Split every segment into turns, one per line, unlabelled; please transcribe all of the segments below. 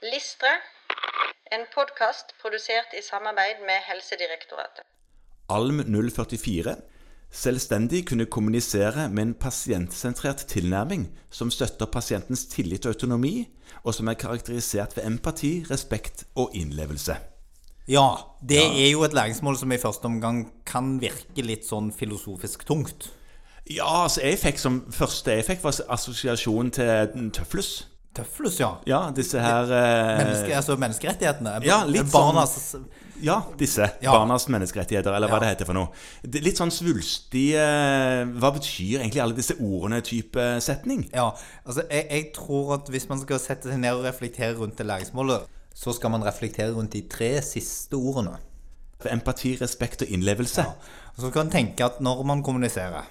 Listre, en podkast produsert i samarbeid med Helsedirektoratet.
ALM 044 selvstendig kunne kommunisere med en pasientsentrert tilnærming som støtter pasientens tillit og autonomi, og som er karakterisert ved empati, respekt og innlevelse.
Ja, det er jo et læringsmål som i første omgang kan virke litt sånn filosofisk tungt.
Ja, altså jeg fikk som første jeg fikk, var assosiasjon til mm, Tøflus.
Tøflus, ja.
Ja, disse her eh,
Menneske, altså menneskerettighetene.
Ja, litt sånn-
Barnas
Ja, disse.
Ja.
Barnas menneskerettigheter, eller hva
Ja.
det heter for noe. Det er Litt sånn svulstige eh, Hva betyr egentlig alle disse ordene-type setning?
Ja, altså jeg, jeg tror at hvis man skal sette seg ned og reflektere rundt det læringsmålet, så skal man reflektere rundt de tre siste ordene.
Empati, respekt og innlevelse.
Og så kan man tenke at når man kommuniserer,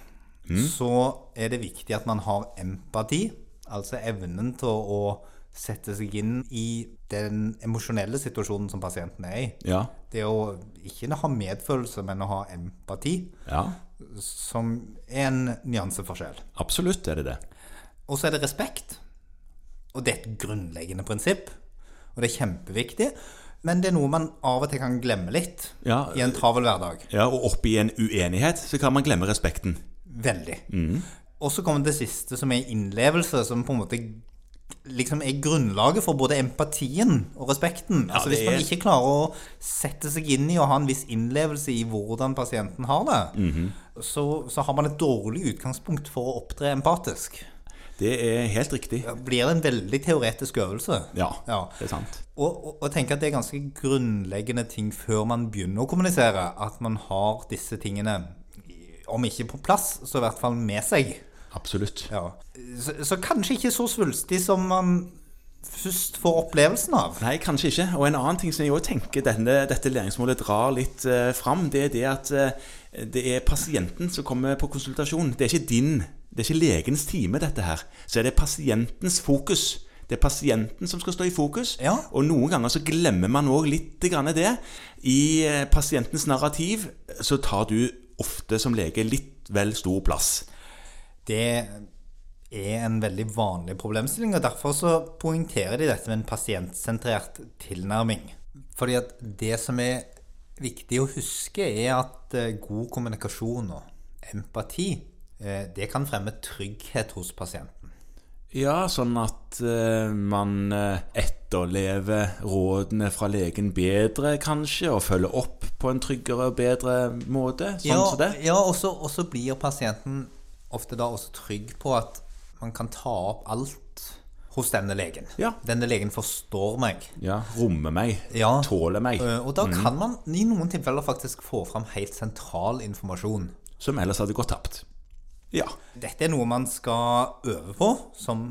Mm.
så er det viktig at man har empati, altså evnen til å sette seg inn i den emosjonelle situasjonen som pasienten er i.
Ja.
Det å ikke ha medfølelse, men å ha empati,
ja.
som er en nyanseforskjell.
Absolutt er det det.
Og så er det respekt. Og det er et grunnleggende prinsipp. Og det er kjempeviktig. Men det er noe man av og til kan glemme litt
Ja.
i en travel hverdag.
Ja, Og oppi en uenighet så kan man glemme respekten.
Veldig.
Mm.
Og så kommer det siste, som er innlevelse, som på en måte liksom er grunnlaget for både empatien og respekten. altså
det
Hvis man
er-
ikke klarer å sette seg inn i og ha en viss innlevelse i hvordan pasienten har det,
Mhm.
så, så har man et dårlig utgangspunkt for å opptre empatisk.
Det er helt riktig.
Da blir det en veldig teoretisk øvelse.
Ja,
Ja.
det er sant.
Og, og, og tenke at det er ganske grunnleggende ting før man begynner å kommunisere. At man har disse tingene, om ikke på plass, så i hvert fall med seg.
Absolutt.
Ja. Så, så kanskje ikke så svulstig som man først får opplevelsen av.
Nei, kanskje ikke. Og en annen ting som jeg også tenker denne, dette læringsmålet drar litt eh, fram, det er det at eh, det er pasienten som kommer på konsultasjon. Det er ikke din, det er ikke legens time, dette her. Så er det pasientens fokus. Det er pasienten som skal stå i fokus,
Ja.
og noen ganger så glemmer man òg litt grann det. I eh, pasientens narrativ så tar du ofte som lege litt vel stor plass.
Det er en veldig vanlig problemstilling, og derfor så poengterer de dette med en pasientsentrert tilnærming. Fordi at det som er viktig å huske, er at eh, god kommunikasjon og empati, eh, det kan fremme trygghet hos pasienten.
Ja, sånn at eh, man eh, etterlever rådene fra legen bedre, kanskje, og følger opp på en tryggere og bedre måte. Sånn
ja,
som det.
Ja, og så og så blir pasienten ofte da også trygg på at man kan ta opp alt hos denne legen.
Ja.
Denne legen forstår meg.
Ja, Rommer meg.
Ja.
Tåler meg.
Eh, Og da kan man i noen tilfeller faktisk få fram helt sentral informasjon.
Som ellers hadde gått tapt. Ja.
Dette er noe man skal øve på, som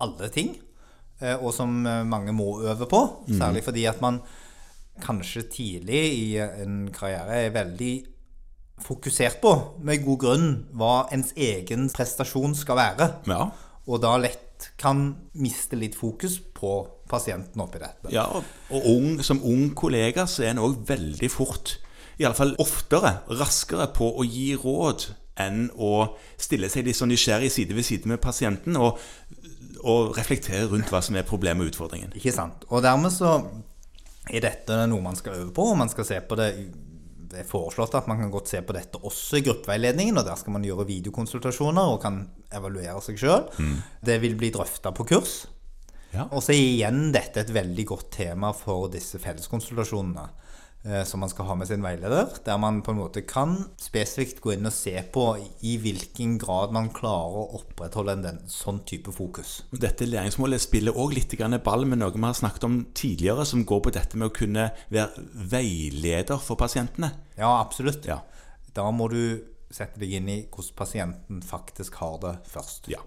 alle ting, eh, og som eh, mange må øve på. Særlig fordi at man kanskje tidlig i eh, en karriere er veldig fokusert på, med god grunn, hva ens egen prestasjon skal være.
ja.
Og da lett kan miste litt fokus på pasienten oppi dette.
Ja, og- og ung, som ung kollega så er en òg veldig fort, iallfall oftere, raskere på å gi råd enn å stille seg litt sånn nysgjerrig side ved side med pasienten og, og reflektere rundt hva som er problemet og utfordringen.
Ikke sant. Og dermed så er dette noe man skal øve på, og man skal se på det Det er foreslått at man kan godt se på dette også i gruppeveiledningen, og der skal man gjøre videokonsultasjoner og kan evaluere seg sjøl. Det vil bli drøfta på kurs.
Ja.
Og så er igjen dette et veldig godt tema for disse felleskonsultasjonene. eh, Som man skal ha med sin veileder, der man på en måte kan spesifikt gå inn og se på i hvilken grad man klarer å opprettholde en den, sånn type fokus.
Og Dette læringsmålet spiller òg litt grann ball med noe vi har snakket om tidligere, som går på dette med å kunne være veileder for pasientene.
Ja, absolutt.
Ja.
Da må du sette deg inn i hvordan pasienten faktisk har det først.
Ja.